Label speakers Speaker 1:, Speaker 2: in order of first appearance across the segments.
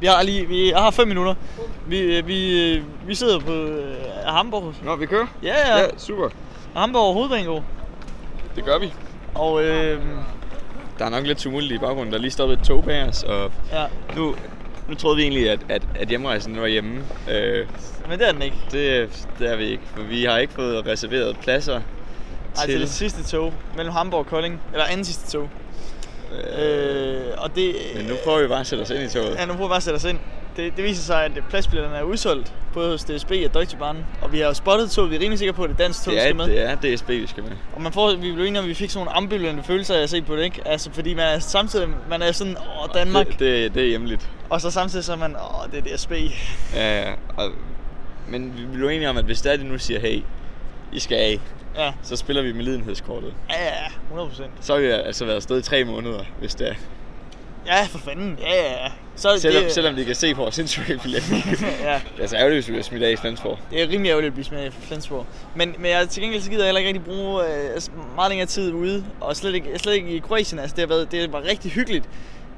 Speaker 1: Vi har lige, vi, jeg har fem minutter. Vi, øh, vi, øh, vi sidder på øh, Hamburg.
Speaker 2: Nå, vi kører?
Speaker 1: Ja, ja.
Speaker 2: Ja, super.
Speaker 1: Hamburg Hovedbanegård.
Speaker 2: Det gør vi.
Speaker 1: Og øh,
Speaker 2: Der er nok lidt tumult i baggrunden. Der er lige stoppet et tog bag os, og
Speaker 1: ja,
Speaker 2: nu, nu troede vi egentlig, at, at, at hjemrejsen var hjemme. Øh,
Speaker 1: men det er den ikke.
Speaker 2: det, det er vi ikke, for vi har ikke fået reserveret pladser
Speaker 1: Ej, til det sidste tog mellem Hamburg og Kolding. Eller anden sidste tog. Øh, og det...
Speaker 2: Men nu prøver vi bare at sætte os ind i toget.
Speaker 1: Ja, nu prøver vi bare at sætte os ind. Det, det viser sig, at pladsbilletterne er udsolgt, både hos DSB og Deutsche Bahn. Og vi har jo spottet toget, vi er rimelig sikre på, at det er dansk tog,
Speaker 2: Det
Speaker 1: der skal
Speaker 2: er,
Speaker 1: med.
Speaker 2: det er DSB, vi skal med.
Speaker 1: Og man får, vi blev enige om, at vi fik sådan nogle ambivalente følelser af at se på det, ikke? Altså, fordi man er samtidig, man er sådan, åh, Danmark,
Speaker 2: Det, det, det er hjemligt.
Speaker 1: og så samtidig så er man, åh, det er DSB.
Speaker 2: Ja, og, men vi blev enige om, at hvis der de nu siger, hey, I skal af,
Speaker 1: Ja,
Speaker 2: så spiller vi med lidenhedskortet.
Speaker 1: ja, ja, 100 procent.
Speaker 2: Så har vi altså været afsted i tre måneder, hvis det er.
Speaker 1: Ja, for fanden, ja, ja, ja. Så er det,
Speaker 2: Selvom, selvom de kan se på vores sindssyge billet.
Speaker 1: ja,
Speaker 2: Det er altså ærgerligt, hvis vi bliver smidt af i Flensborg.
Speaker 1: det er rimelig ærgerligt at blive smidt fra Flensborg. Men, men jeg, til gengæld så gider jeg heller ikke rigtig bruge øh, altså, meget længere tid ude, og slet ikke, slet ikke i Kroatien. Altså, det, har været, det var rigtig hyggeligt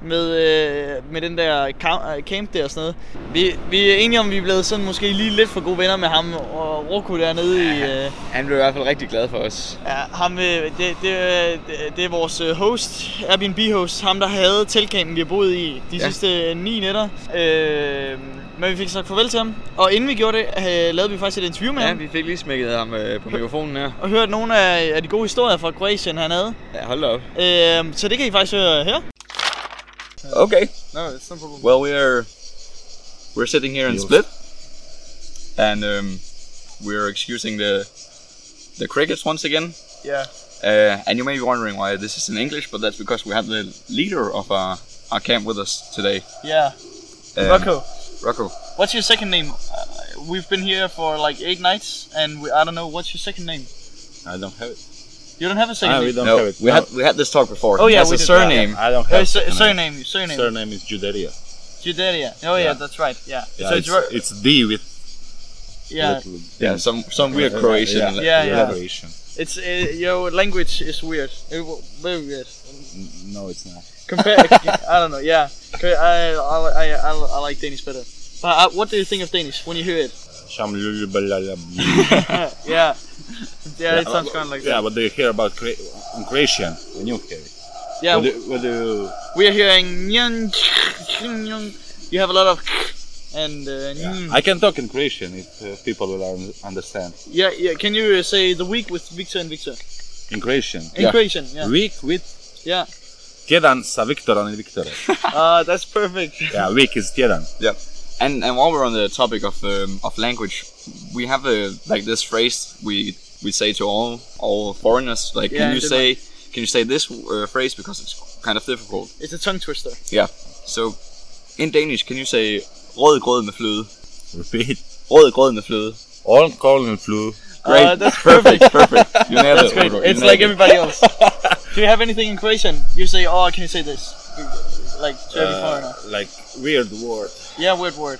Speaker 1: med, øh, med den der camp, øh, camp der og sådan noget. Vi, vi er enige om, at vi er blevet sådan måske lige lidt for gode venner med ham og Roku dernede i... Øh,
Speaker 2: Han blev i hvert fald rigtig glad for os.
Speaker 1: Ja, ham, øh, det, det, øh, det, det er vores øh, host, Airbnb-host, ham der havde teltkampen, vi har boet i de ja.
Speaker 2: Ja.
Speaker 1: sidste ni nætter. Øh, men vi fik sagt farvel til ham, og inden vi gjorde det, øh, lavede vi faktisk et interview med ja,
Speaker 2: Ja,
Speaker 1: ham, vi...
Speaker 2: vi fik lige smækket ham øh, på mikrofonen her.
Speaker 1: og hørte nogle af, af de gode historier fra Kroatien, han havde.
Speaker 2: Ja, hold da op.
Speaker 1: Øh, så det kan I faktisk høre her.
Speaker 2: Okay,
Speaker 3: No, it's no problem.
Speaker 2: well we are we're sitting here in Split, and um, we're excusing the the crickets once again.
Speaker 3: Yeah.
Speaker 2: Uh, and you may be wondering why this is in English, but that's because we have the leader of our, our camp with us today.
Speaker 1: Yeah,
Speaker 2: Um,
Speaker 4: Øh.
Speaker 1: Rocco,
Speaker 2: Rocco.
Speaker 1: what's your second name? Uh, we've been here for like eight nights, and we, I don't know, what's your second name?
Speaker 4: I don't have it.
Speaker 1: You don't have a second
Speaker 4: Ah, we
Speaker 1: name?
Speaker 4: don't
Speaker 2: No,
Speaker 4: have it.
Speaker 2: we
Speaker 4: No.
Speaker 2: had we had this talk before.
Speaker 1: Oh, yeah,
Speaker 2: As
Speaker 1: we
Speaker 2: a
Speaker 1: did,
Speaker 2: surname.
Speaker 4: I don't have
Speaker 1: Uh, su-
Speaker 4: it.
Speaker 1: surname, surname.
Speaker 4: Surname is Juderia.
Speaker 1: Juderia. Oh yeah,
Speaker 4: Yeah.
Speaker 1: that's right. Yeah.
Speaker 4: Yeah,
Speaker 1: so
Speaker 4: it's,
Speaker 1: it's, ro-
Speaker 4: it's D with
Speaker 1: yeah,
Speaker 4: little
Speaker 2: Yeah, some some weird
Speaker 4: Yeah,
Speaker 2: Croatian.
Speaker 4: Yeah,
Speaker 2: la-
Speaker 1: Mm. Yeah, yeah.
Speaker 4: Croatian.
Speaker 1: It's uh, your language is weird, It w- very weird.
Speaker 4: N- No, it's not.
Speaker 1: Compare, I don't know. Yeah, 'Cause I, I, I, I, I like Danish better. But uh, what do you think of Danish when you hear it?
Speaker 4: Sham lulubalalam.
Speaker 1: yeah, yeah, it sounds kind of like
Speaker 4: Yeah,
Speaker 1: that.
Speaker 4: what do you hear about Cro- in Croatian? When you hear it.
Speaker 1: Yeah,
Speaker 4: What do, what do you...
Speaker 1: we are hearing nyan, nyan. You have a lot of and uh,
Speaker 4: Yeah.
Speaker 1: yeah.
Speaker 4: I can talk in Croatian if uh, people will un- understand.
Speaker 1: yeah, yeah. Can you uh, say the week with Victor and Victor
Speaker 4: In Croatian.
Speaker 1: in
Speaker 2: Yeah.
Speaker 1: Croatian? Yeah,
Speaker 4: Week with
Speaker 1: yeah.
Speaker 4: Tjedan sa Viktorom and Viktorom.
Speaker 1: Uh, that's perfect.
Speaker 4: yeah, week is Tjedan.
Speaker 2: And and while we're on the topic of um, of language, we have a like this phrase we we say to all all foreigners. Like,
Speaker 1: Yeah,
Speaker 2: can you
Speaker 1: I did
Speaker 2: say can you say this uh, phrase because it's kind of difficult?
Speaker 1: It's a tongue twister.
Speaker 2: So, in Danish, can you say rød grød med fløde?
Speaker 4: Repeat.
Speaker 2: Rød grød med fløde.
Speaker 4: All colon flu.
Speaker 2: Great.
Speaker 1: Uh, that's
Speaker 2: perfect. perfect. You nailed
Speaker 4: Oh,
Speaker 1: That's
Speaker 2: it,
Speaker 1: great.
Speaker 2: Rocco. You
Speaker 1: It's
Speaker 2: nailed
Speaker 1: like
Speaker 2: it.
Speaker 1: everybody else. Do you have anything in Croatian? You say, oh, can you say this? Like to every foreigner.
Speaker 4: Uh, like weird word.
Speaker 1: Yeah, weird word.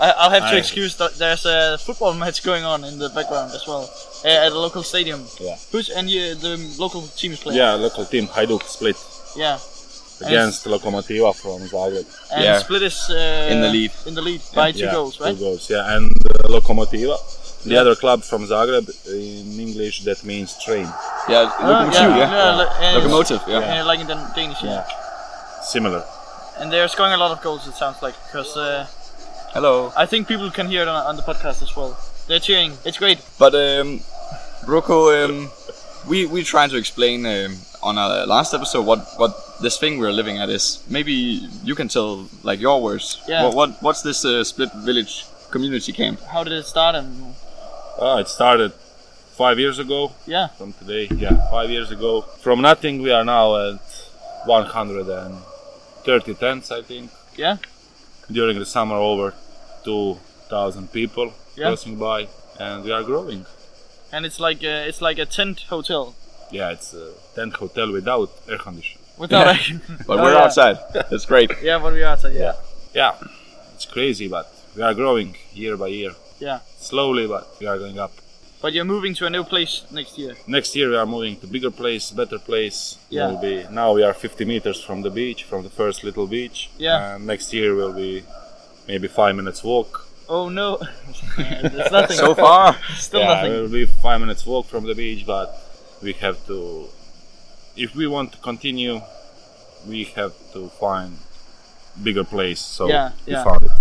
Speaker 1: I, I'll have to
Speaker 4: I-
Speaker 1: excuse that there's a football match going on in the background as well uh, at a local stadium.
Speaker 4: Yeah.
Speaker 1: Who's and you, the local team is playing.
Speaker 4: Yeah, local team Hajduk Split
Speaker 1: Yeah.
Speaker 4: against Lokomotiva from Zagreb.
Speaker 1: And
Speaker 2: Yeah.
Speaker 1: Split is uh,
Speaker 2: In the lead.
Speaker 1: In the lead by two
Speaker 4: yeah,
Speaker 1: goals, right?
Speaker 4: Two goals, yeah. And uh, Lokomotiva, the other club from Zagreb, in English that means train.
Speaker 2: Yeah, locomotive.
Speaker 1: Oh, Uh, yeah,
Speaker 2: yeah.
Speaker 1: yeah.
Speaker 2: Locomotive. Yeah.
Speaker 1: Uh, like in the Danish, yeah.
Speaker 4: Similar.
Speaker 1: And they're scoring a lot of goals. It sounds like because uh,
Speaker 2: Hello.
Speaker 1: I think people can hear it on, on the podcast as well. They're cheering. It's great.
Speaker 2: But um, Rocco, um, we we tried to explain um, on our last episode what what this thing we're living at is. Maybe you can tell like your words.
Speaker 1: Yeah.
Speaker 2: What, what what's this uh, split village community camp?
Speaker 1: How did it start? And
Speaker 4: Ah, it started five years ago
Speaker 1: yeah.
Speaker 4: from today. Yeah, five years ago. From nothing, we are now at 130 tents, I think.
Speaker 1: Yeah.
Speaker 4: During the summer, over 2,000 people
Speaker 1: Yeah.
Speaker 4: passing by, and we are growing.
Speaker 1: and it's like a, it's like a tent hotel
Speaker 4: Yeah, it's a tent hotel without air conditioning.
Speaker 1: without
Speaker 2: But
Speaker 1: Oh,
Speaker 2: we're
Speaker 1: yeah.
Speaker 2: outside. That's great.
Speaker 1: yeah what we are outside yeah
Speaker 4: yeah, it's crazy, but we are growing year by year.
Speaker 1: Yeah.
Speaker 4: Slowly, but we are going up.
Speaker 1: But you're moving to a new place next year.
Speaker 4: Next year we are moving to bigger place, better place.
Speaker 1: Yeah.
Speaker 4: We'll be now we are 50 meters from the beach, from the first little beach.
Speaker 1: Yeah.
Speaker 4: And next year will be maybe five minutes walk.
Speaker 1: Oh no, it's nothing.
Speaker 2: So far,
Speaker 1: Still
Speaker 4: yeah,
Speaker 1: nothing.
Speaker 4: it will be five minutes walk from the beach, but we have to. If we want to continue, we have to find bigger place. So
Speaker 1: Yeah,
Speaker 4: we
Speaker 1: yeah.
Speaker 4: found it.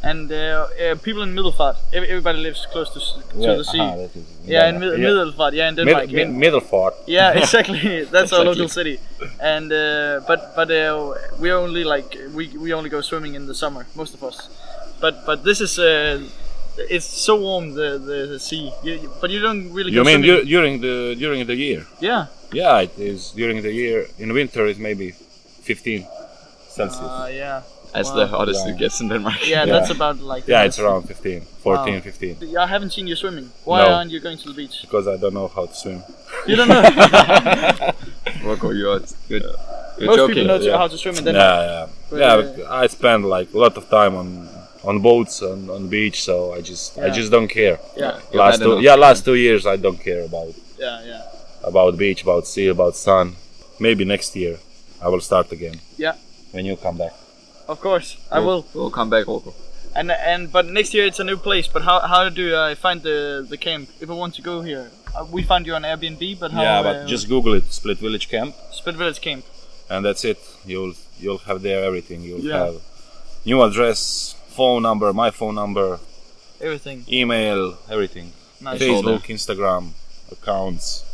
Speaker 1: And uh, uh, people in Middelfart, ev- everybody lives close to, s- to the sea.
Speaker 4: aha, Uh-huh, that is
Speaker 1: yeah, in
Speaker 4: Denmark.
Speaker 1: Mid-
Speaker 4: Yeah.
Speaker 1: Middelfart, yeah, in
Speaker 4: Mid-
Speaker 1: Denmark. yeah.
Speaker 4: mid- middle fort.
Speaker 1: Yeah, exactly. That's our local
Speaker 2: Exactly.
Speaker 1: city, and uh, but but uh, we only like we, we only go swimming in the summer, most of us. But but this is uh, it's so warm the the, the sea. You, you- but you don't really.
Speaker 4: You
Speaker 1: go
Speaker 4: mean
Speaker 1: swimming.
Speaker 4: du- during the during the year?
Speaker 1: Yeah.
Speaker 4: Yeah, it is during the year. In winter, it's maybe 15 Celsius.
Speaker 1: Uh, yeah.
Speaker 2: that's
Speaker 1: Wow.
Speaker 2: the hottest
Speaker 4: Yeah.
Speaker 2: it gets in Denmark.
Speaker 1: yeah. that's about like.
Speaker 4: yeah, it's around 15, 14,
Speaker 1: Wow.
Speaker 4: 15.
Speaker 1: I haven't seen you swimming. Why
Speaker 4: No.
Speaker 1: aren't you going to the beach?
Speaker 4: Because I don't know how to swim.
Speaker 1: You don't know.
Speaker 2: Rocco, you're you're, you're
Speaker 1: Most
Speaker 2: joking.
Speaker 1: people know
Speaker 4: yeah.
Speaker 1: how to swim in
Speaker 4: Yeah,
Speaker 1: Denmark.
Speaker 4: yeah,
Speaker 1: But,
Speaker 4: yeah.
Speaker 1: uh,
Speaker 4: but I spend like a lot of time on on boats and on beach, so I just I
Speaker 1: Yeah.
Speaker 4: just don't care.
Speaker 1: Yeah.
Speaker 2: You've
Speaker 4: last
Speaker 2: had
Speaker 4: two,
Speaker 2: enough.
Speaker 4: yeah, last two years I don't care about
Speaker 1: Yeah. Yeah.
Speaker 4: about beach, about sea, about sun. Maybe next year I will start again.
Speaker 1: Yeah.
Speaker 4: When you come back.
Speaker 1: Of course, I will.
Speaker 2: We'll come back, Rocco.
Speaker 1: And and but next year it's a new place. But how how do I find the the camp if I want to go here? Uh, we found you on Airbnb, but how?
Speaker 4: yeah, but
Speaker 1: uh,
Speaker 4: just Google it, Split Village Camp,
Speaker 1: Spit Village camp.
Speaker 4: and that's it. You'll you'll have there everything. You'll
Speaker 1: Yeah.
Speaker 4: have new address, phone number, my phone number,
Speaker 1: Everything
Speaker 4: email, everything.
Speaker 1: nice.
Speaker 2: Face-
Speaker 4: Facebook, Instagram accounts.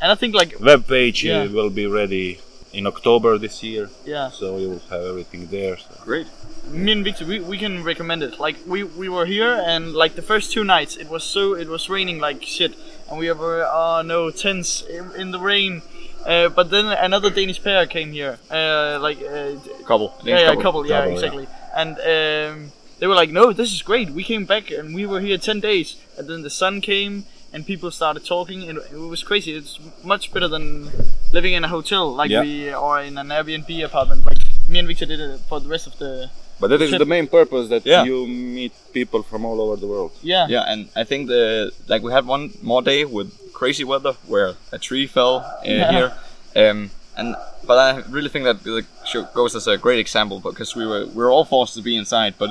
Speaker 1: And I think like
Speaker 4: Web page uh,
Speaker 1: Yeah.
Speaker 4: will be ready in October this year,
Speaker 1: yeah,
Speaker 4: so you will have everything there. so-
Speaker 2: Great.
Speaker 1: me and Victor, we, we can recommend it. Like we we were here and like the first two nights it was so it was raining like shit, and we were oh no tense in, in the rain. Uh, but then another Danish pair came here, uh, like uh,
Speaker 2: Couple. I think
Speaker 1: yeah,
Speaker 2: it's
Speaker 1: yeah, couple, yeah,
Speaker 4: Couple, yeah.
Speaker 1: exactly. And um, they were like, "No, this is great. We came back and we were here ten days, and then the sun came and people started talking, and it was crazy. It's much better than living in a hotel, like
Speaker 4: Yeah.
Speaker 1: we or in an Airbnb apartment. Like me and Victor did it for the rest of the
Speaker 4: But that is
Speaker 1: Should-
Speaker 4: the main purpose that
Speaker 2: Yeah.
Speaker 4: you meet people from all over the world.
Speaker 1: yeah,
Speaker 2: Yeah, and I think the like we had one more day with crazy weather where a tree fell uh, here, um, and but I really think that the show goes as a great example because we were we were all forced to be inside, but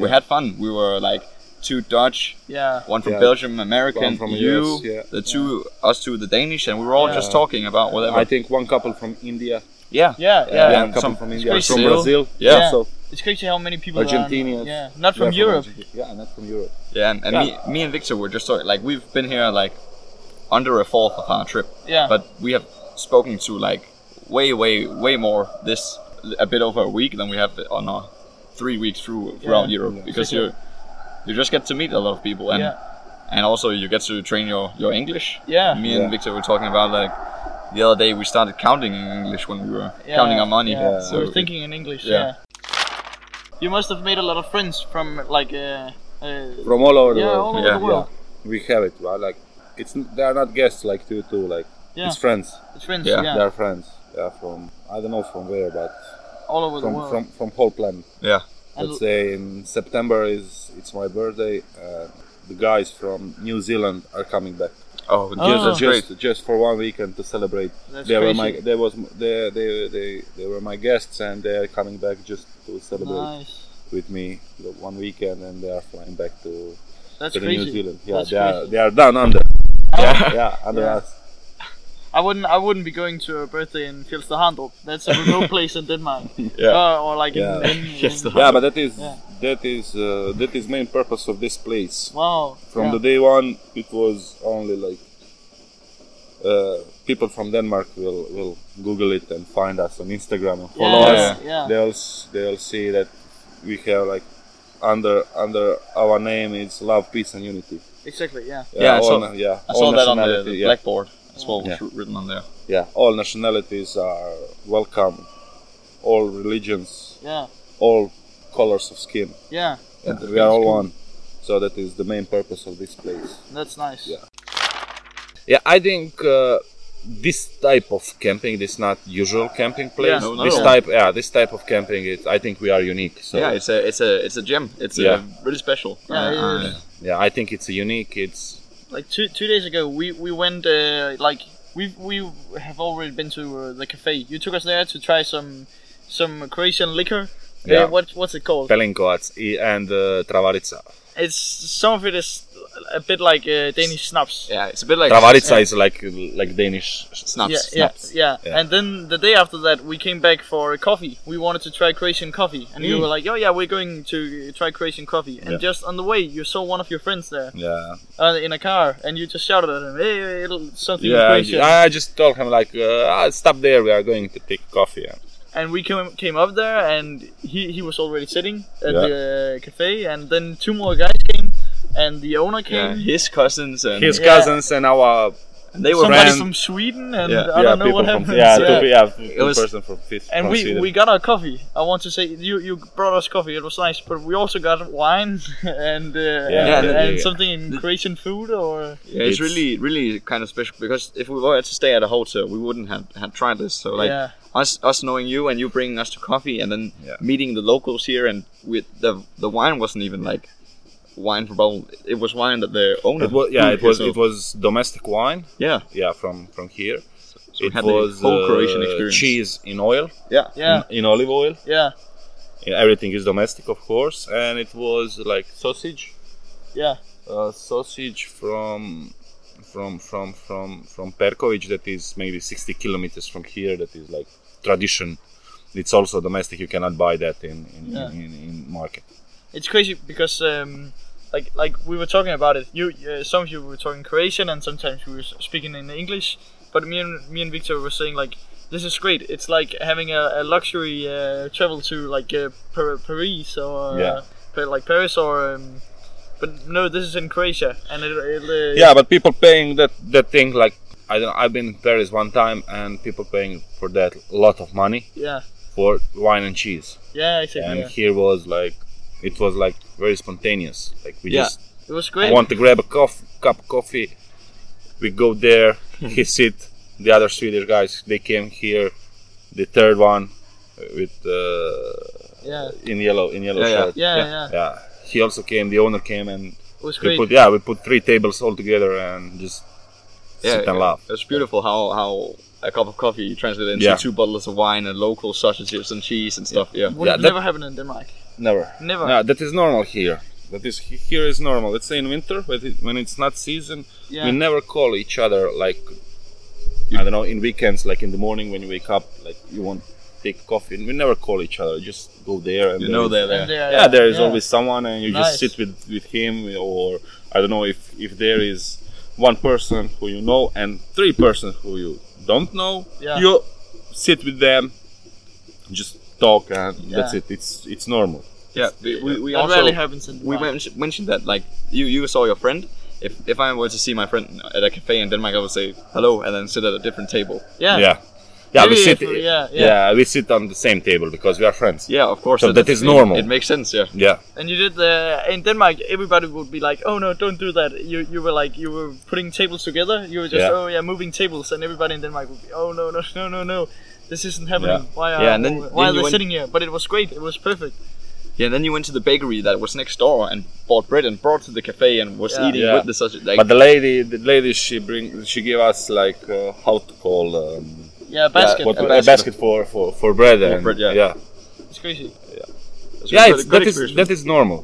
Speaker 2: we had fun. We were like two Dutch,
Speaker 1: yeah,
Speaker 2: one from
Speaker 4: Yeah.
Speaker 2: Belgium, American,
Speaker 4: One from
Speaker 2: you,
Speaker 4: US, yeah.
Speaker 2: the two us two the Danish, and we were all
Speaker 1: Yeah.
Speaker 2: just talking about whatever.
Speaker 4: I think one couple from India,
Speaker 2: yeah,
Speaker 1: yeah, yeah.
Speaker 4: yeah, one
Speaker 2: and
Speaker 4: couple
Speaker 2: some-
Speaker 4: from India,
Speaker 1: Brazil.
Speaker 4: from Brazil,
Speaker 2: Yeah.
Speaker 4: also
Speaker 1: It's crazy how many people. Are,
Speaker 4: Argentinians.
Speaker 1: yeah, not from
Speaker 4: Yeah,
Speaker 1: Europe.
Speaker 4: Argentina. yeah, not from Europe.
Speaker 2: yeah, and, and Me, me and Victor were just talking like we've been here like under a fourth of our trip.
Speaker 1: yeah,
Speaker 2: but we have spoken to like way way way more this a bit over a week than we have on our three weeks through throughout
Speaker 1: Yeah.
Speaker 2: Europe
Speaker 4: Yeah.
Speaker 2: because you you just get to meet a lot of people and
Speaker 1: yeah,
Speaker 2: and also you get to train your your English.
Speaker 1: Yeah.
Speaker 2: Me and
Speaker 4: Yeah.
Speaker 2: Victor were talking about like the other day we started counting in English when we were counting our money.
Speaker 1: Yeah.
Speaker 2: So
Speaker 1: we were thinking in English. Yeah.
Speaker 2: yeah.
Speaker 1: You must have made a lot of friends from like uh, uh,
Speaker 4: From all over
Speaker 1: yeah,
Speaker 4: the
Speaker 1: all
Speaker 4: world.
Speaker 1: over
Speaker 2: Yeah,
Speaker 1: the world.
Speaker 4: We have it, right? Like, it's n- they are not guests like two two. Like,
Speaker 1: Yeah.
Speaker 4: it's friends.
Speaker 1: It's friends, yeah,
Speaker 2: Yeah.
Speaker 4: They are friends. Yeah, from I don't know from where, but
Speaker 1: all over
Speaker 4: from
Speaker 1: the world.
Speaker 4: from from whole planet.
Speaker 2: yeah.
Speaker 1: And
Speaker 4: Let's say in September is it's my birthday. Uh, the guys from New Zealand are coming back
Speaker 2: Oh,
Speaker 1: Oh.
Speaker 2: that's great.
Speaker 4: just just for one weekend to celebrate.
Speaker 1: That's
Speaker 4: they were my
Speaker 1: crazy.
Speaker 4: they was m- they, they they they were my guests and they are coming back just to celebrate
Speaker 1: nice.
Speaker 4: with me the one weekend and they are flying back to,
Speaker 1: That's
Speaker 4: to the
Speaker 1: crazy.
Speaker 4: New Zealand. Yeah,
Speaker 1: That's
Speaker 4: they are
Speaker 1: crazy.
Speaker 4: they are down under.
Speaker 1: Yeah.
Speaker 4: yeah, uh, under
Speaker 1: Yeah.
Speaker 4: us.
Speaker 1: I wouldn't. I wouldn't be going to a birthday in Fjellstahandrup. That's a remote place in Denmark.
Speaker 2: Yeah.
Speaker 1: Uh, or like
Speaker 4: Yeah.
Speaker 1: in, in, in
Speaker 2: Fjellstahandrup.
Speaker 4: Yeah, but that is
Speaker 1: Yeah.
Speaker 4: that is uh, that is main purpose of this place.
Speaker 1: wow.
Speaker 4: From
Speaker 1: yeah.
Speaker 4: the day one, it was only like uh, people from Denmark will will Google it and find us on Instagram and follow
Speaker 1: yeah,
Speaker 4: us.
Speaker 1: Yeah.
Speaker 4: They'll s- they'll see that we have like under under our name is love, peace, and unity.
Speaker 1: Exactly. Yeah.
Speaker 2: Yeah, I
Speaker 4: all
Speaker 2: saw-
Speaker 4: na- yeah,
Speaker 2: I
Speaker 4: all
Speaker 2: saw that on the,
Speaker 4: nationality-
Speaker 2: the
Speaker 4: yeah,
Speaker 2: blackboard as well.
Speaker 4: Yeah.
Speaker 2: was written on there.
Speaker 4: yeah, all nationalities are welcome, all religions,
Speaker 1: Yeah.
Speaker 4: all colors of skin.
Speaker 1: Yeah.
Speaker 4: And we are all one. So that is the main purpose of this place.
Speaker 1: That's nice.
Speaker 4: Yeah. Yeah, I think uh, this type of camping is not usual camping place.
Speaker 1: Yeah.
Speaker 2: No,
Speaker 4: This
Speaker 2: no.
Speaker 4: type, yeah, this type of camping, it, I think we are unique. So
Speaker 2: yeah, it's a it's a it's a gem. It's
Speaker 4: Yeah.
Speaker 2: uh really special.
Speaker 1: Yeah, it
Speaker 2: Uh,
Speaker 1: is.
Speaker 4: yeah, I think it's unique. It's
Speaker 1: like two two days ago we we went uh, like we we have already been to uh, the cafe you took us there to try some some croatian liquor
Speaker 4: Yeah.
Speaker 1: uh, what what's it called
Speaker 4: Pelinkovac i- and uh, Travarica.
Speaker 1: it's some of it is a bit like uh, danish schnapps
Speaker 2: yeah, it's a bit like
Speaker 4: Travarica is like like Danish.
Speaker 2: snaps.
Speaker 1: yeah, yeah, yeah,
Speaker 4: Yeah.
Speaker 1: And then the day after that, we came back for a coffee. We wanted to try Croatian coffee, and you
Speaker 4: Mm.
Speaker 1: were like, "Oh yeah, we're going to try Croatian coffee." And
Speaker 4: Yeah.
Speaker 1: just on the way, you saw one of your friends there
Speaker 4: Yeah,
Speaker 1: uh, in a car, and you just shouted at him, "Hey, hey, little- something
Speaker 4: yeah.
Speaker 1: Croatian!"
Speaker 4: I I just told him like, uh, "Ah, stop there. We are going to pick coffee.
Speaker 1: and we came came up there, and he he was already sitting at
Speaker 4: Yeah.
Speaker 1: the cafe, and then two more guys came, and the owner
Speaker 2: Yeah,
Speaker 1: came.
Speaker 2: his cousins and
Speaker 4: His
Speaker 1: Yeah.
Speaker 4: cousins and our
Speaker 2: and they were
Speaker 1: Somebody
Speaker 4: friend.
Speaker 1: from Sweden, and
Speaker 2: Yeah.
Speaker 1: I
Speaker 4: yeah,
Speaker 1: don't know
Speaker 4: people
Speaker 1: what
Speaker 4: from
Speaker 1: happened.
Speaker 4: yeah,
Speaker 1: Yeah.
Speaker 4: Two, pe- yeah, two
Speaker 2: was-
Speaker 4: person from fifth.
Speaker 1: and
Speaker 4: from
Speaker 1: we,
Speaker 4: Sweden.
Speaker 1: we got our coffee. I want to say you you brought us coffee. It was nice, but we also got wine and uh,
Speaker 4: Yeah,
Speaker 1: and,
Speaker 2: yeah,
Speaker 1: and
Speaker 4: yeah.
Speaker 1: something in Croatian food or
Speaker 2: Yeah, it's,
Speaker 4: It's-
Speaker 2: really, really kind of special because if we were to stay at a hotel, we wouldn't have, have tried this. So like
Speaker 1: yeah
Speaker 2: us, us knowing you and you bringing us to coffee and then
Speaker 4: Yeah.
Speaker 2: meeting the locals here and with the the wine wasn't even like wine from bottle. It was wine that the owner.
Speaker 4: It was, yeah,
Speaker 2: brewed
Speaker 4: it was
Speaker 2: here,
Speaker 4: it was domestic wine.
Speaker 2: so- yeah,
Speaker 4: Yeah, from from here.
Speaker 2: So we
Speaker 4: it
Speaker 2: had the
Speaker 4: was
Speaker 2: whole
Speaker 4: uh,
Speaker 2: Croatian experience.
Speaker 4: cheese in oil,
Speaker 2: yeah,
Speaker 1: yeah
Speaker 4: in, in olive oil.
Speaker 1: yeah
Speaker 4: Yeah, everything is domestic, of course, and it was like sausage,
Speaker 1: yeah
Speaker 4: uh, sausage from from from from from Perković that is maybe 60 kilometers from here. That is like tradition. It's also domestic. You cannot buy that in in,
Speaker 1: Yeah.
Speaker 4: in, in, in market.
Speaker 1: it's crazy because um, like like we were talking about it. You uh, some of you were talking Croatian and sometimes we were s- speaking in English. But me and me and Victor were saying like this is great. It's like having a, a luxury uh, travel to like uh, Par- Paris or uh,
Speaker 4: Yeah.
Speaker 1: Pa- like Paris or. Um, but no, this is in Croatia, and it, it uh,
Speaker 4: yeah but people paying that that thing like i don't i've been in paris one time and people paying for that a lot of money
Speaker 1: yeah,
Speaker 4: for wine and cheese
Speaker 1: yeah, exactly.
Speaker 4: and
Speaker 1: yeah.
Speaker 4: here was like it was like very spontaneous like we
Speaker 2: Yeah.
Speaker 4: just
Speaker 1: It was great.
Speaker 4: want to grab a cof- cup of coffee we go there
Speaker 1: Hmm.
Speaker 4: he sit the other swedish guys they came here the third one uh, with uh,
Speaker 1: Yeah,
Speaker 4: in yellow in yellow
Speaker 2: Yeah, yeah.
Speaker 4: shirt
Speaker 1: yeah, yeah,
Speaker 4: yeah he also came the owner came and
Speaker 1: It was
Speaker 4: we
Speaker 1: great.
Speaker 4: put yeah we put three tables all together and just
Speaker 2: yeah.
Speaker 4: sit and laugh
Speaker 2: It was beautiful how how a cup of coffee translated into
Speaker 4: Yeah.
Speaker 2: two bottles of wine and local sausages and cheese and stuff. Yeah,
Speaker 1: Would
Speaker 4: yeah,
Speaker 1: have
Speaker 4: that-
Speaker 1: never happen in Denmark.
Speaker 4: Never.
Speaker 1: Never.
Speaker 4: No, that is normal here. That is he- here is normal. Let's say in winter, but it, when it's not season,
Speaker 1: Yeah,
Speaker 4: we never call each other like I don't know in weekends, like in the morning when you wake up, like you want to take coffee, and we never call each other. Just go there, and
Speaker 2: you
Speaker 4: there
Speaker 2: know
Speaker 4: is-
Speaker 2: they're
Speaker 1: And
Speaker 2: there.
Speaker 1: there-
Speaker 4: Yeah, there is
Speaker 1: yeah.
Speaker 4: always someone, and you
Speaker 1: Nice.
Speaker 4: just sit with with him, or I don't know if if there is one person who you know and three person who you don't know.
Speaker 1: Yeah.
Speaker 4: You sit with them, just talk, and that's
Speaker 1: Yeah.
Speaker 4: it. It's it's normal.
Speaker 2: Yeah, we, we, we
Speaker 1: that
Speaker 2: also
Speaker 1: rarely happens in
Speaker 2: we
Speaker 1: Denmark.
Speaker 2: men- mentioned that like you you saw your friend. If if I were to see my friend at a cafe in Denmark, I would say hello and then sit at a different table.
Speaker 1: yeah,
Speaker 4: yeah yeah we
Speaker 1: Maybe
Speaker 4: sit
Speaker 1: if we- yeah,
Speaker 4: yeah,
Speaker 1: yeah.
Speaker 4: we sit on the same table because we are friends
Speaker 2: Yeah, of course.
Speaker 4: So that is
Speaker 2: it-
Speaker 4: normal.
Speaker 2: It, makes sense. Yeah.
Speaker 4: yeah
Speaker 1: And you did the in Denmark. Everybody would be like, "Oh no, don't do that." You you were like you were putting tables together. You were just
Speaker 4: Yeah.
Speaker 1: oh yeah, moving tables, and everybody in Denmark would be, "Oh no, no, no, no, no, this isn't happening.
Speaker 4: Yeah.
Speaker 1: Why are
Speaker 2: Yeah, and then-
Speaker 1: why
Speaker 2: then
Speaker 1: are
Speaker 2: you
Speaker 1: they
Speaker 2: went-
Speaker 1: sitting here?" But it was great. It was perfect.
Speaker 2: Yeah. Then you went to the bakery that was next door and bought bread and brought to the cafe and was
Speaker 1: Yeah.
Speaker 2: eating
Speaker 4: Yeah.
Speaker 2: with the sausage. Like,
Speaker 4: but the lady the lady she bring she gave us like uh, how to call um,
Speaker 1: Yeah, basket.
Speaker 4: what
Speaker 2: a
Speaker 4: a
Speaker 2: basket.
Speaker 4: basket for for for bread and
Speaker 2: bread, yeah.
Speaker 4: yeah
Speaker 1: It's crazy.
Speaker 2: was
Speaker 4: Yeah,
Speaker 2: a
Speaker 4: it's,
Speaker 2: good
Speaker 4: that is
Speaker 2: experience.
Speaker 4: that is normal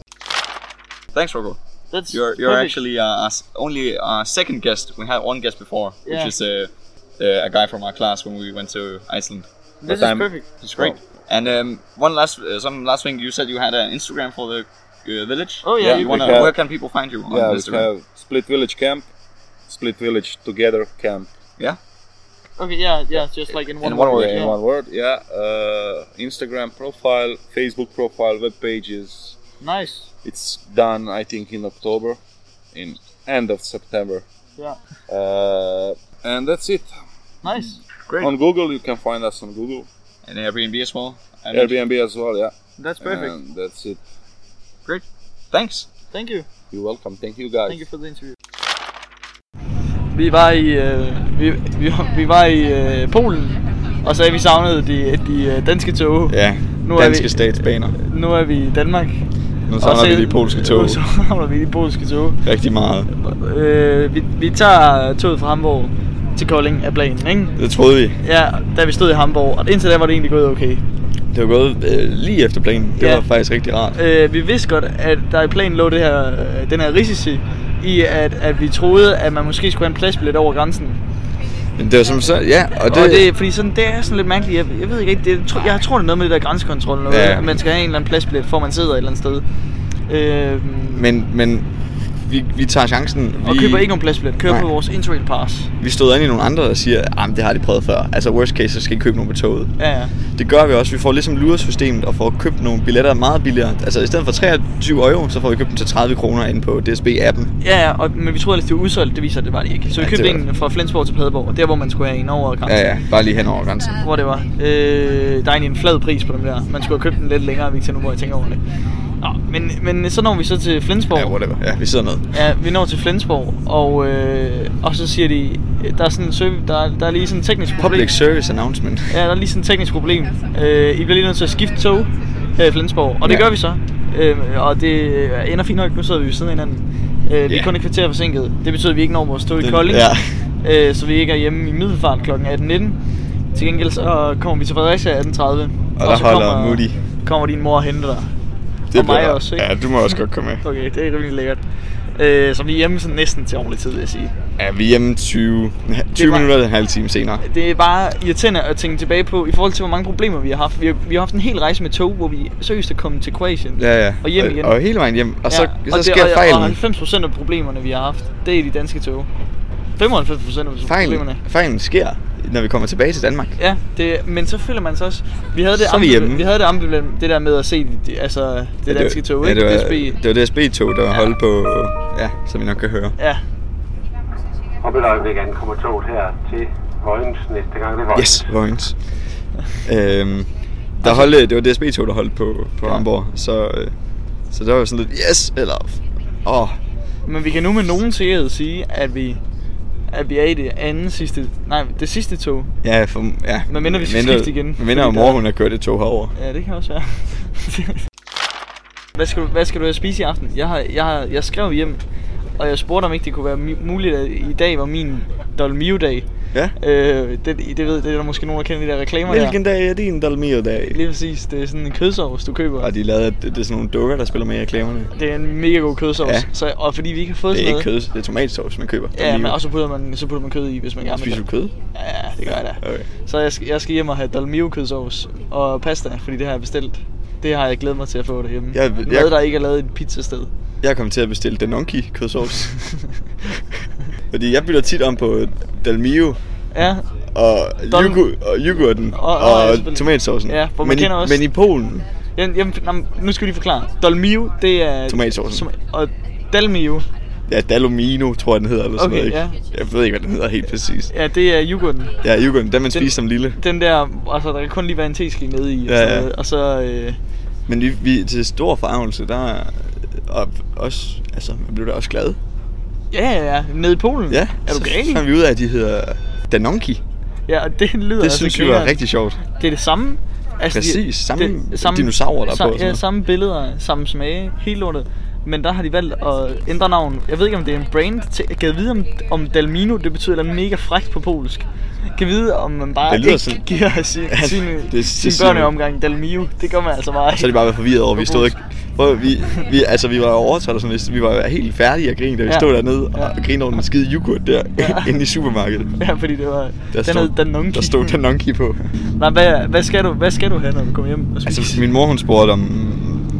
Speaker 2: Thanks, Rocco.
Speaker 1: That's
Speaker 2: You're you're
Speaker 1: perfect.
Speaker 2: actually uh, our s- only our second guest. We had one guest before,
Speaker 1: Yeah.
Speaker 2: which is uh, uh, a guy from our class when we went to Iceland.
Speaker 1: this is
Speaker 4: I'm-
Speaker 1: perfect.
Speaker 2: It's great. And um, one last uh, some last thing you said you had an Instagram for the uh, village.
Speaker 1: Oh yeah,
Speaker 4: Yeah,
Speaker 1: you can,
Speaker 2: You
Speaker 4: we
Speaker 2: wanna,
Speaker 4: have-
Speaker 2: where can people find you on
Speaker 4: yeah we
Speaker 2: Instagram?
Speaker 4: have split village camp split village together camp
Speaker 1: okay, yeah, yeah, just like in one
Speaker 2: in one
Speaker 1: word.
Speaker 2: word,
Speaker 4: yeah, in
Speaker 1: yeah.
Speaker 4: one word yeah uh, Instagram profile Facebook profile web pages
Speaker 1: Nice.
Speaker 4: it's done I think in October in end of September
Speaker 1: Yeah.
Speaker 4: uh, and that's it
Speaker 1: Nice.
Speaker 2: Great.
Speaker 4: on Google you can find us on Google
Speaker 2: and Airbnb as well. And
Speaker 4: Airbnb as well yeah
Speaker 1: That's perfect.
Speaker 4: and that's it
Speaker 2: Thanks.
Speaker 1: Thank you.
Speaker 4: you're welcome thank you guys
Speaker 1: Thank you for the interview. Vi var i, øh, vi, vi, vi var i øh, Polen, og så er vi savnede de, de øh, danske tog.
Speaker 5: Ja,
Speaker 1: Nu
Speaker 5: nu
Speaker 1: er
Speaker 5: danske
Speaker 1: vi-
Speaker 5: vi... statsbaner.
Speaker 1: Nu er vi i Danmark.
Speaker 5: Nu
Speaker 1: Og
Speaker 5: savner
Speaker 1: så-
Speaker 5: vi de polske tog
Speaker 1: Nu savner vi de polske tog.
Speaker 5: rigtig meget.
Speaker 1: Øh, vi, vi tager toget fra Hamburg til Kolding af planen, ikke?
Speaker 5: Det troede vi.
Speaker 1: Ja, da vi stod i Hamburg, og indtil da var det egentlig gået okay.
Speaker 5: Det var gået øh, lige efter planen. Det
Speaker 1: Ja.
Speaker 5: var faktisk rigtig rart.
Speaker 1: Øh, vi vidste godt, at der i planen lå det her, øh, den her risici i, at, at vi troede, at man måske skulle have en pladsbillet over grænsen.
Speaker 5: Men det var som så, ja, og
Speaker 1: Og
Speaker 5: det,
Speaker 1: det, og det fordi sådan, det er sådan lidt mærkeligt. Jeg, jeg ved ikke rigtig, det, jeg, jeg tror, det er noget med det der grænsekontrol, noget,
Speaker 5: Ja.
Speaker 1: ja. at man skal have en eller anden pladsbillet, for man sidder et eller andet sted. Øh,
Speaker 5: men, men vi, vi tager chancen. Vi,
Speaker 1: og køber ikke nogen pladsbillet, kører
Speaker 5: Nej.
Speaker 1: på vores interrail pass.
Speaker 5: vi stod ind i nogle andre, der siger, at det har de prøvet før. Altså worst case, så skal I købe nogen på toget.
Speaker 1: Ja, ja.
Speaker 5: Det gør vi også. Vi får ligesom luresystemet og får købt nogle billetter meget billigere. Altså i stedet for 23 euro, så får vi købt dem til 30 kroner inde på DSB-appen.
Speaker 1: Ja, ja, og, men vi troede ellers, det var udsolgt, det viser det var det ikke. Så vi
Speaker 5: Ja,
Speaker 1: købte
Speaker 5: det var
Speaker 1: en fra Flensborg til Padborg, der hvor man skulle have en over grænsen.
Speaker 5: Ja, ja, bare lige hen over grænsen.
Speaker 1: Hvor det var. Øh, der er egentlig en flad pris på dem der. Man skulle have købt den lidt længere, vi til nu, hvor jeg tænker over det. Nå, men, men så når vi så til Flensborg.
Speaker 5: Ja, whatever. Ja, vi sidder ned.
Speaker 1: Ja, vi når til Flensborg, og, øh, og så siger de, øh, der er sådan en serv- der, er- der er lige sådan en teknisk problem.
Speaker 5: Public service announcement.
Speaker 1: Ja, der er lige sådan et teknisk problem. Øh, I bliver lige nødt til at skifte tog her i Flensborg, og det
Speaker 5: Ja.
Speaker 1: gør vi så. Øh, og det ender fint nok, nu sidder vi ved siden af hinanden. Øh, vi er
Speaker 5: Ja.
Speaker 1: kun et kvarter forsinket. Det betyder, at vi ikke når vores tog i
Speaker 5: Det-
Speaker 1: Kolding,
Speaker 5: ja.
Speaker 1: øh, så vi ikke er hjemme i middelfart kl. 18.19. Til gengæld så kommer vi til Fredericia 18.30. Og,
Speaker 5: der
Speaker 1: så
Speaker 5: holder Moody.
Speaker 1: kommer din mor og henter dig.
Speaker 5: Det
Speaker 1: og mig
Speaker 5: bliver-
Speaker 1: også, ikke?
Speaker 5: Ja, du må også godt komme med.
Speaker 1: Okay, det er rimelig lækkert. Øh, så vi er hjemme sådan næsten til ordentlig tid, vil jeg sige.
Speaker 5: Ja, vi er hjemme 20, 20
Speaker 1: bare-
Speaker 5: minutter og en halv time senere.
Speaker 1: Det er bare irriterende at tænke tilbage på, i forhold til, hvor mange problemer vi har haft. Vi har, vi har haft en hel rejse med tog, hvor vi seriøst er kommet til Kroatien.
Speaker 5: Ja, ja.
Speaker 1: Og hjem igen.
Speaker 5: Og, og hele vejen hjem. Og så,
Speaker 1: og
Speaker 5: så
Speaker 1: det-
Speaker 5: sker
Speaker 1: og, Og
Speaker 5: fejlen.
Speaker 1: 90% af problemerne, vi har haft, det er de danske tog. 95% af
Speaker 5: Fejlen,
Speaker 1: problemerne.
Speaker 5: fejlen sker, når vi kommer tilbage til Danmark.
Speaker 1: Ja, det, men så føler man sig også... Vi havde det,
Speaker 5: Så er vi
Speaker 1: ambivalent-
Speaker 5: hjemme.
Speaker 1: vi havde det ambivalent, det der med at se de- de, altså, det
Speaker 5: Ja,
Speaker 1: danske tog,
Speaker 5: ja,
Speaker 1: ikke?
Speaker 5: det var,
Speaker 1: DSB.
Speaker 5: Det var DSB-tog, der var holdt på, ja, som vi nok kan høre.
Speaker 1: Ja,
Speaker 6: Om et øjeblik ankommer toget her til Vojens næste gang det er Vojens.
Speaker 5: Yes, Vojens. øhm, der holdt, det var DSB-tog, der holdt på, på ja. Hamburg, så, øh, så der var sådan lidt, yes, eller, åh,
Speaker 1: men vi kan nu med nogen sikkerhed sige, at vi at vi er i det anden sidste... Nej, det sidste tog.
Speaker 5: ja, for, ja.
Speaker 1: Men mindre vi skal skifte igen,
Speaker 5: Men mindre
Speaker 1: fordi
Speaker 5: mor,
Speaker 1: der-
Speaker 5: hun har kørt et tog herover.
Speaker 1: Ja, det kan også være. hvad, skal du, hvad skal du have at spise i aften? Jeg, har, jeg, har, jeg skrev hjem, og jeg spurgte, om ikke det kunne være mi- muligt, at i dag var min Dolmio-dag.
Speaker 5: Ja.
Speaker 1: Øh, det, det, ved, det er der måske nogen, der kender de der reklamer
Speaker 5: Hvilken
Speaker 1: der.
Speaker 5: dag er din Dalmio-dag?
Speaker 1: Lige præcis, det er sådan en kødsovs, du køber.
Speaker 5: Og de lavede, at Ah, det, det er sådan nogle dukker, der spiller med i reklamerne.
Speaker 1: Det er en mega god kødsovs.
Speaker 5: Ja.
Speaker 1: Så, og fordi vi ikke har fået
Speaker 5: Det er
Speaker 1: sådan
Speaker 5: ikke kød, det er tomatsauce, man køber.
Speaker 1: noget, Ja, men, og så putter, man, så putter man kød i, hvis man gerne vil.
Speaker 5: Spiser du
Speaker 1: det.
Speaker 5: kød?
Speaker 1: Ja, det gør jeg da.
Speaker 5: Okay.
Speaker 1: Så jeg skal, jeg skal hjem og have Dolmio kødsovs og pasta, fordi det har jeg bestilt. Det har jeg glædet mig til at få derhjemme.
Speaker 5: Jeg-
Speaker 1: Mad,
Speaker 5: jeg-
Speaker 1: der ikke er lavet i et pizzasted.
Speaker 5: Jeg kom til at bestille Danonki kødsovs. Fordi jeg bytter tit om på Dalmio
Speaker 1: Ja,
Speaker 5: og,
Speaker 1: Dol-
Speaker 5: yoghurt, og yoghurten og,
Speaker 1: Og-
Speaker 5: og,
Speaker 1: og- ja,
Speaker 5: og
Speaker 1: selvfølgelig.
Speaker 5: tomatsaucen.
Speaker 1: Ja, for man
Speaker 5: men, i,
Speaker 1: kender også-
Speaker 5: men i Polen,
Speaker 1: jamen, jamen, jamen, nu skal vi lige forklare. Dolmio, det er...
Speaker 5: Tomatsaucen.
Speaker 1: og Dalmio,
Speaker 5: ja, Dalomino tror jeg den hedder, eller sådan
Speaker 1: Okay,
Speaker 5: noget, ikke? Jeg ved ikke, hvad den hedder helt præcis.
Speaker 1: ja, det er yoghurten.
Speaker 5: Ja, yoghurten, den man
Speaker 1: Den-
Speaker 5: spiser som lille.
Speaker 1: Den der, altså der kan kun lige være en teske nede i, og,
Speaker 5: Ja,
Speaker 1: sådan
Speaker 5: ja.
Speaker 1: noget. og så... Øh,
Speaker 5: Men vi, vi til stor forarvelse, der er og også, altså, man blev da også glad.
Speaker 1: ja, ja, ja, nede i Polen.
Speaker 5: Ja,
Speaker 1: er du
Speaker 5: så
Speaker 1: galen?
Speaker 5: fandt vi ud af, at de hedder Danonki.
Speaker 1: Ja, og det lyder
Speaker 5: Det
Speaker 1: altså
Speaker 5: synes vi var
Speaker 1: grineren.
Speaker 5: rigtig sjovt.
Speaker 1: Det er det samme. Altså,
Speaker 5: Præcis, samme dinosaurer, der er på og sådan
Speaker 1: Ja,
Speaker 5: noget.
Speaker 1: samme billeder, samme smage, helt lortet. Men der har de valgt at ændre navn. Jeg ved ikke, om det er en brand. til- Jeg kan vide, om, om Dalmino, det betyder da mega frækt på polsk. Jeg kan vide, om man bare
Speaker 5: Det lyder
Speaker 1: ikke
Speaker 5: sådan-
Speaker 1: giver sin,
Speaker 5: Ja,
Speaker 1: sin,
Speaker 5: det-
Speaker 1: det,
Speaker 5: det
Speaker 1: sin
Speaker 5: siger-
Speaker 1: børneomgang Dalmio. Det gør man altså bare
Speaker 5: Så er de
Speaker 1: ikke.
Speaker 5: bare været forvirret over, at vi stod ikke... Prøv, vi, vi, altså, vi var overtrådt og sådan lidt. Vi var helt færdige at grine, da vi
Speaker 1: Ja.
Speaker 5: stod dernede og,
Speaker 1: Ja.
Speaker 5: og grinede over den skide yoghurt der
Speaker 1: Ja.
Speaker 5: inde i supermarkedet.
Speaker 1: Ja, fordi det var...
Speaker 5: Der
Speaker 1: den
Speaker 5: stod,
Speaker 1: hed Danonki.
Speaker 5: der stod Danonki på.
Speaker 1: Nej, hvad, hvad, skal du, hvad skal du have, når du kommer hjem og spiser?
Speaker 5: Altså, min mor hun spurgte, om,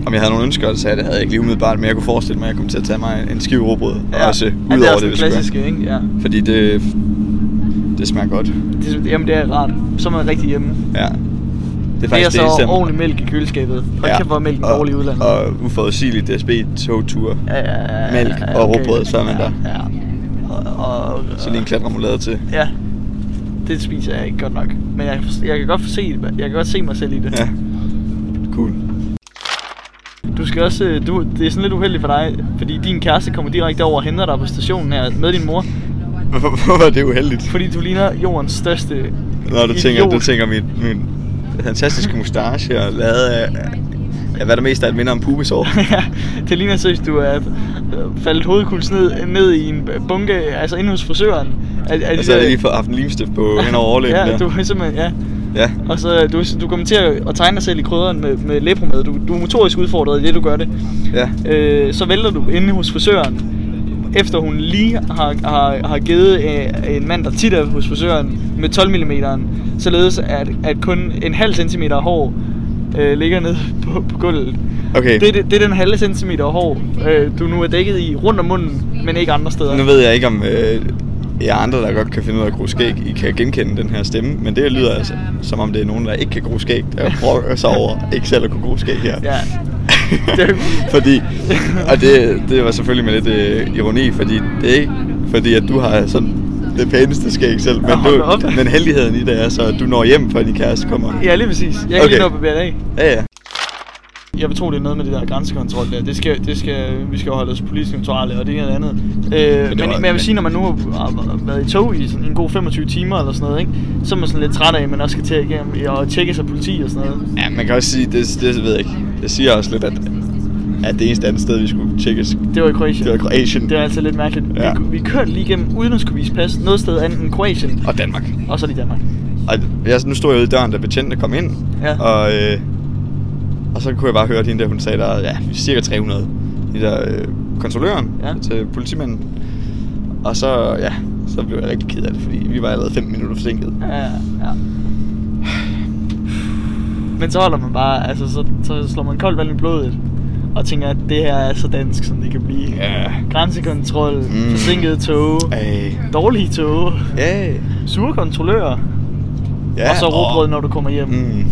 Speaker 5: om jeg havde nogle ønsker, og så sagde jeg, det havde jeg ikke lige umiddelbart, men jeg kunne forestille mig, at jeg kom til at tage mig en skive råbrød, ja. også øh,
Speaker 1: ja,
Speaker 5: ud
Speaker 1: det er også
Speaker 5: over det,
Speaker 1: den
Speaker 5: hvis jeg
Speaker 1: klassiske, ikke? Ja.
Speaker 5: Fordi det, det smager godt.
Speaker 1: Det, jamen, det er rart. Så er man rigtig hjemme.
Speaker 5: Ja. Det er
Speaker 1: Det er
Speaker 5: faktisk det,
Speaker 1: så
Speaker 5: som-
Speaker 1: ordentlig mælk i køleskabet. Hold ja. kæft, hvor er mælken
Speaker 5: og-
Speaker 1: dårlig i udlandet.
Speaker 5: Og uforudsigelig DSB-togtur.
Speaker 1: Ja, ja, ja, ja,
Speaker 5: mælk
Speaker 1: ja,
Speaker 5: og rugbrød, så er man
Speaker 1: ja,
Speaker 5: der.
Speaker 1: Ja. Og, og,
Speaker 5: Så lige en klat remoulade til.
Speaker 1: Ja. Det spiser jeg ikke godt nok. Men jeg, kan for- jeg kan godt se, det. jeg kan godt se mig selv i det.
Speaker 5: Ja. Cool.
Speaker 1: Du skal også, øh, du, det er sådan lidt uheldigt for dig, fordi din kæreste kommer direkte over og henter dig på stationen her med din mor.
Speaker 5: Hvor var det uheldigt?
Speaker 1: Fordi du ligner jordens største
Speaker 5: Nå, du tænker,
Speaker 1: idiot.
Speaker 5: du tænker min, min fantastiske mustache og lavet af, af, hvad der mest af et minder om pubesår.
Speaker 1: Ja, det ligner seriøst, du er øh, faldet hovedkulds ned, ned i en bunke, altså inde hos frisøren. Er, er
Speaker 5: Og så har jeg Altså, lige fået haft en limstift på hen over overlæben
Speaker 1: ja,
Speaker 5: der.
Speaker 1: du er simpelthen, ja.
Speaker 5: Ja,
Speaker 1: Og så øh, du, du kommer til at at tegne dig selv i krydderen med, med læbromad. Du, du er motorisk udfordret i det, du gør det.
Speaker 5: ja.
Speaker 1: Øh, så vælter du inde hos frisøren, efter hun lige har, har, har givet øh, en mand, der tit er hos frisøren, med 12 mm, således at, at kun en halv centimeter hår øh, ligger nede på, på gulvet.
Speaker 5: Okay.
Speaker 1: Det, er det, det er den halve centimeter hår, øh, du nu er dækket i rundt om munden, men ikke andre steder.
Speaker 5: Nu ved jeg ikke, om øh, jer andre, der godt kan finde ud af at gro skæg, I kan genkende den her stemme, men det lyder altså, som om det er nogen, der ikke kan gro skæg, der brokker sig over ikke selv at kunne gro skæg her.
Speaker 1: Ja. Det-
Speaker 5: fordi, og det, det var selvfølgelig med lidt øh, ironi, fordi det er ikke, fordi at du har sådan det pæneste skæg selv, men,
Speaker 1: Hold
Speaker 5: du,
Speaker 1: op.
Speaker 5: men heldigheden i det er så, at du når hjem, før din kæreste kommer.
Speaker 1: Ja, lige præcis. Jeg kan okay.
Speaker 5: Okay.
Speaker 1: lige nå at bevæge dig af.
Speaker 5: Ja, ja.
Speaker 1: Jeg vil tro, det er noget med det der grænsekontrol der. Det skal, det skal, vi skal jo holde os politisk neutrale, og det ene og det andet. Øh, men,
Speaker 5: var-
Speaker 1: men, jeg vil sige, når man nu har, har været i tog i sådan en god 25 timer eller sådan noget, ikke? så er man sådan lidt træt af, at man også skal til at igennem og tjekke sig politi og sådan noget.
Speaker 5: Ja, man kan også sige, det, det ved jeg ikke. Det siger også lidt, at, at det eneste andet sted, vi skulle tjekkes,
Speaker 1: Det var i Kroatien.
Speaker 5: det var Kroatien
Speaker 1: Det var altså lidt mærkeligt. Ja.
Speaker 5: Ja.
Speaker 1: Vi, vi kørte lige igennem uden at skulle vise pas noget sted andet end Kroatien,
Speaker 5: og Danmark.
Speaker 1: og så lige Danmark.
Speaker 5: Og jeg, nu stod jeg ude i døren, da betjentene kom ind,
Speaker 1: Ja.
Speaker 5: og, øh, og så kunne jeg bare høre at hende der, hun sagde, der er ja, cirka 300, de der øh, kontrolløren
Speaker 1: Ja.
Speaker 5: ja. til politimanden. Og så, ja, så blev jeg rigtig ked af det, fordi vi var allerede 5 minutter forsinket.
Speaker 1: Ja, ja. Men så holder man bare, altså så, så slår man koldt vand i blodet og tænker, at det her er så dansk, som det kan blive.
Speaker 5: Ja.
Speaker 1: Grænsekontrol, mm.
Speaker 5: Mm.
Speaker 1: forsinkede tog,
Speaker 5: Ej.
Speaker 1: dårlige tog,
Speaker 5: Ja.
Speaker 1: sure kontrollører, ja, og så råbrød, når du kommer hjem. Mm.
Speaker 5: Mm.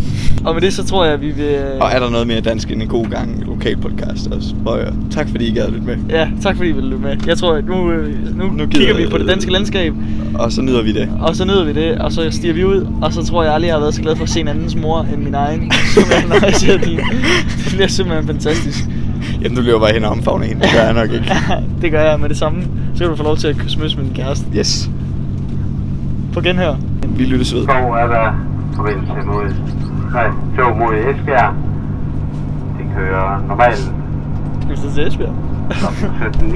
Speaker 1: Og med det, så tror jeg, at vi vil...
Speaker 5: Og er der noget mere dansk end en god gang lokalpodcast også? Prøv at høre. tak fordi I gad lidt med.
Speaker 1: Ja, tak fordi I ville lytte med. Jeg tror, at nu, øh, nu, nu
Speaker 5: gider-
Speaker 1: kigger vi på det danske landskab,
Speaker 5: Og så nyder vi det.
Speaker 1: og så nyder vi det, og så stiger vi ud, og så tror jeg aldrig, jeg har været så glad for at se en andens mor end min egen. Som er nøjse din. Det bliver simpelthen fantastisk.
Speaker 5: Jamen, du løber bare hen og omfavner hende. Det gør jeg nok ikke.
Speaker 1: det gør jeg med det samme. Så kan du få lov til at kysse møs med din kæreste.
Speaker 5: Yes.
Speaker 1: På genhør.
Speaker 5: Vi lyttes ved.
Speaker 6: Skov er der forbindelse mod, nej, tog mod Esbjerg. Det kører normalt
Speaker 1: Skal vi så til Esbjerg?
Speaker 6: kl. 17.59,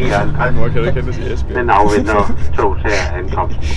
Speaker 5: ikke hente til Esbjerg?
Speaker 6: men afventer tog til ankomst.